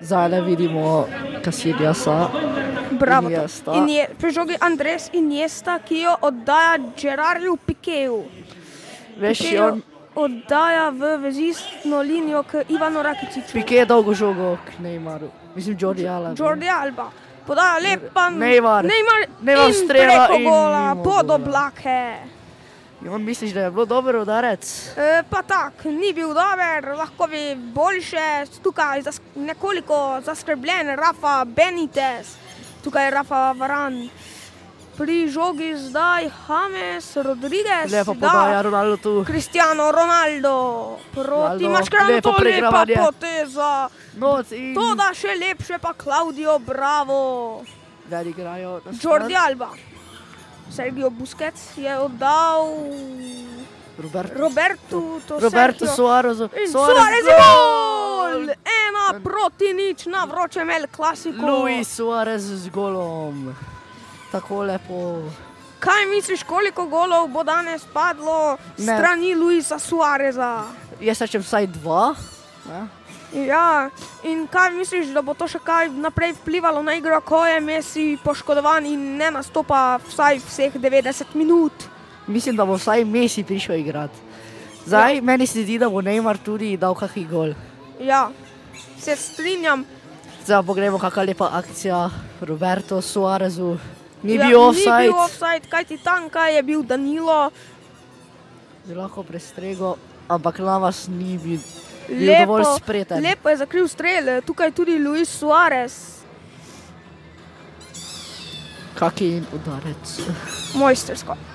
Zdaj vidimo Kasilija. Bravo. Iniesta. In je pri žogi Andres Iniesta, ki jo oddaja Gerarju Pikeju. Veš, Ki jo on oddaja v vezistno linijo k Ivanu Rakiciću. pike dolgo žogo k Neymaru. Mislim, Jordi Alba. Jordi Alba. Podaja lepa. Neymar. Neymar, Neymar in strela preko in gola, mimo pod gola. oblake. In on misliš, da je bilo dober udarec? E, pa tak, ni bil dober, lahko bi boljše, tukaj zas, nekoliko zaskrbljen, Rafa Benitez, tukaj je Rafa Varan. Pri žogi zdaj James Rodriguez, Lepo da, podaja Ronaldo tu. Cristiano Ronaldo proti Ronaldo, Maškranu, lepo to lepa preigravanje. poteza, Noc in to da še lepše pa Claudio Bravo. Zdaj igrajo na stran. Jordi Alba, Sergio Busquets je oddal Roberto, Robertu, to Roberto Sergio. Suarezu. In Suarez Suarez je gol! Ena proti nič na vročem El Clasiku. Luis Suarez z golom. Tako lepo. Kaj misliš, koliko golov bo danes padlo s Ne. strani Luisa Suareza? Jaz rečem vsaj dva. Ne? Ja, in kaj misliš, da bo to še kaj naprej vplivalo na igro, ko je Messi poškodovan in ne nastopa vsaj vseh 90 minut? Mislim, da bo vsaj Messi prišel igrati. Zdaj ja. meni se zdi, da bo Neymar tudi dal kakšen gol. Ja, se strinjam. Zdaj pa gremo, kakšna lepa akcija Roberto Suarezu. Ni ja, ja, bil Ni bil offside, offside, kajti tanka je bil Danilo. zelo lahko prestrego, ampak Navas ni bil, bil dovolj Lepo, spreten. lepo je zakril strel, tukaj tudi Luis Suarez, Kaki udarec. mojstersko.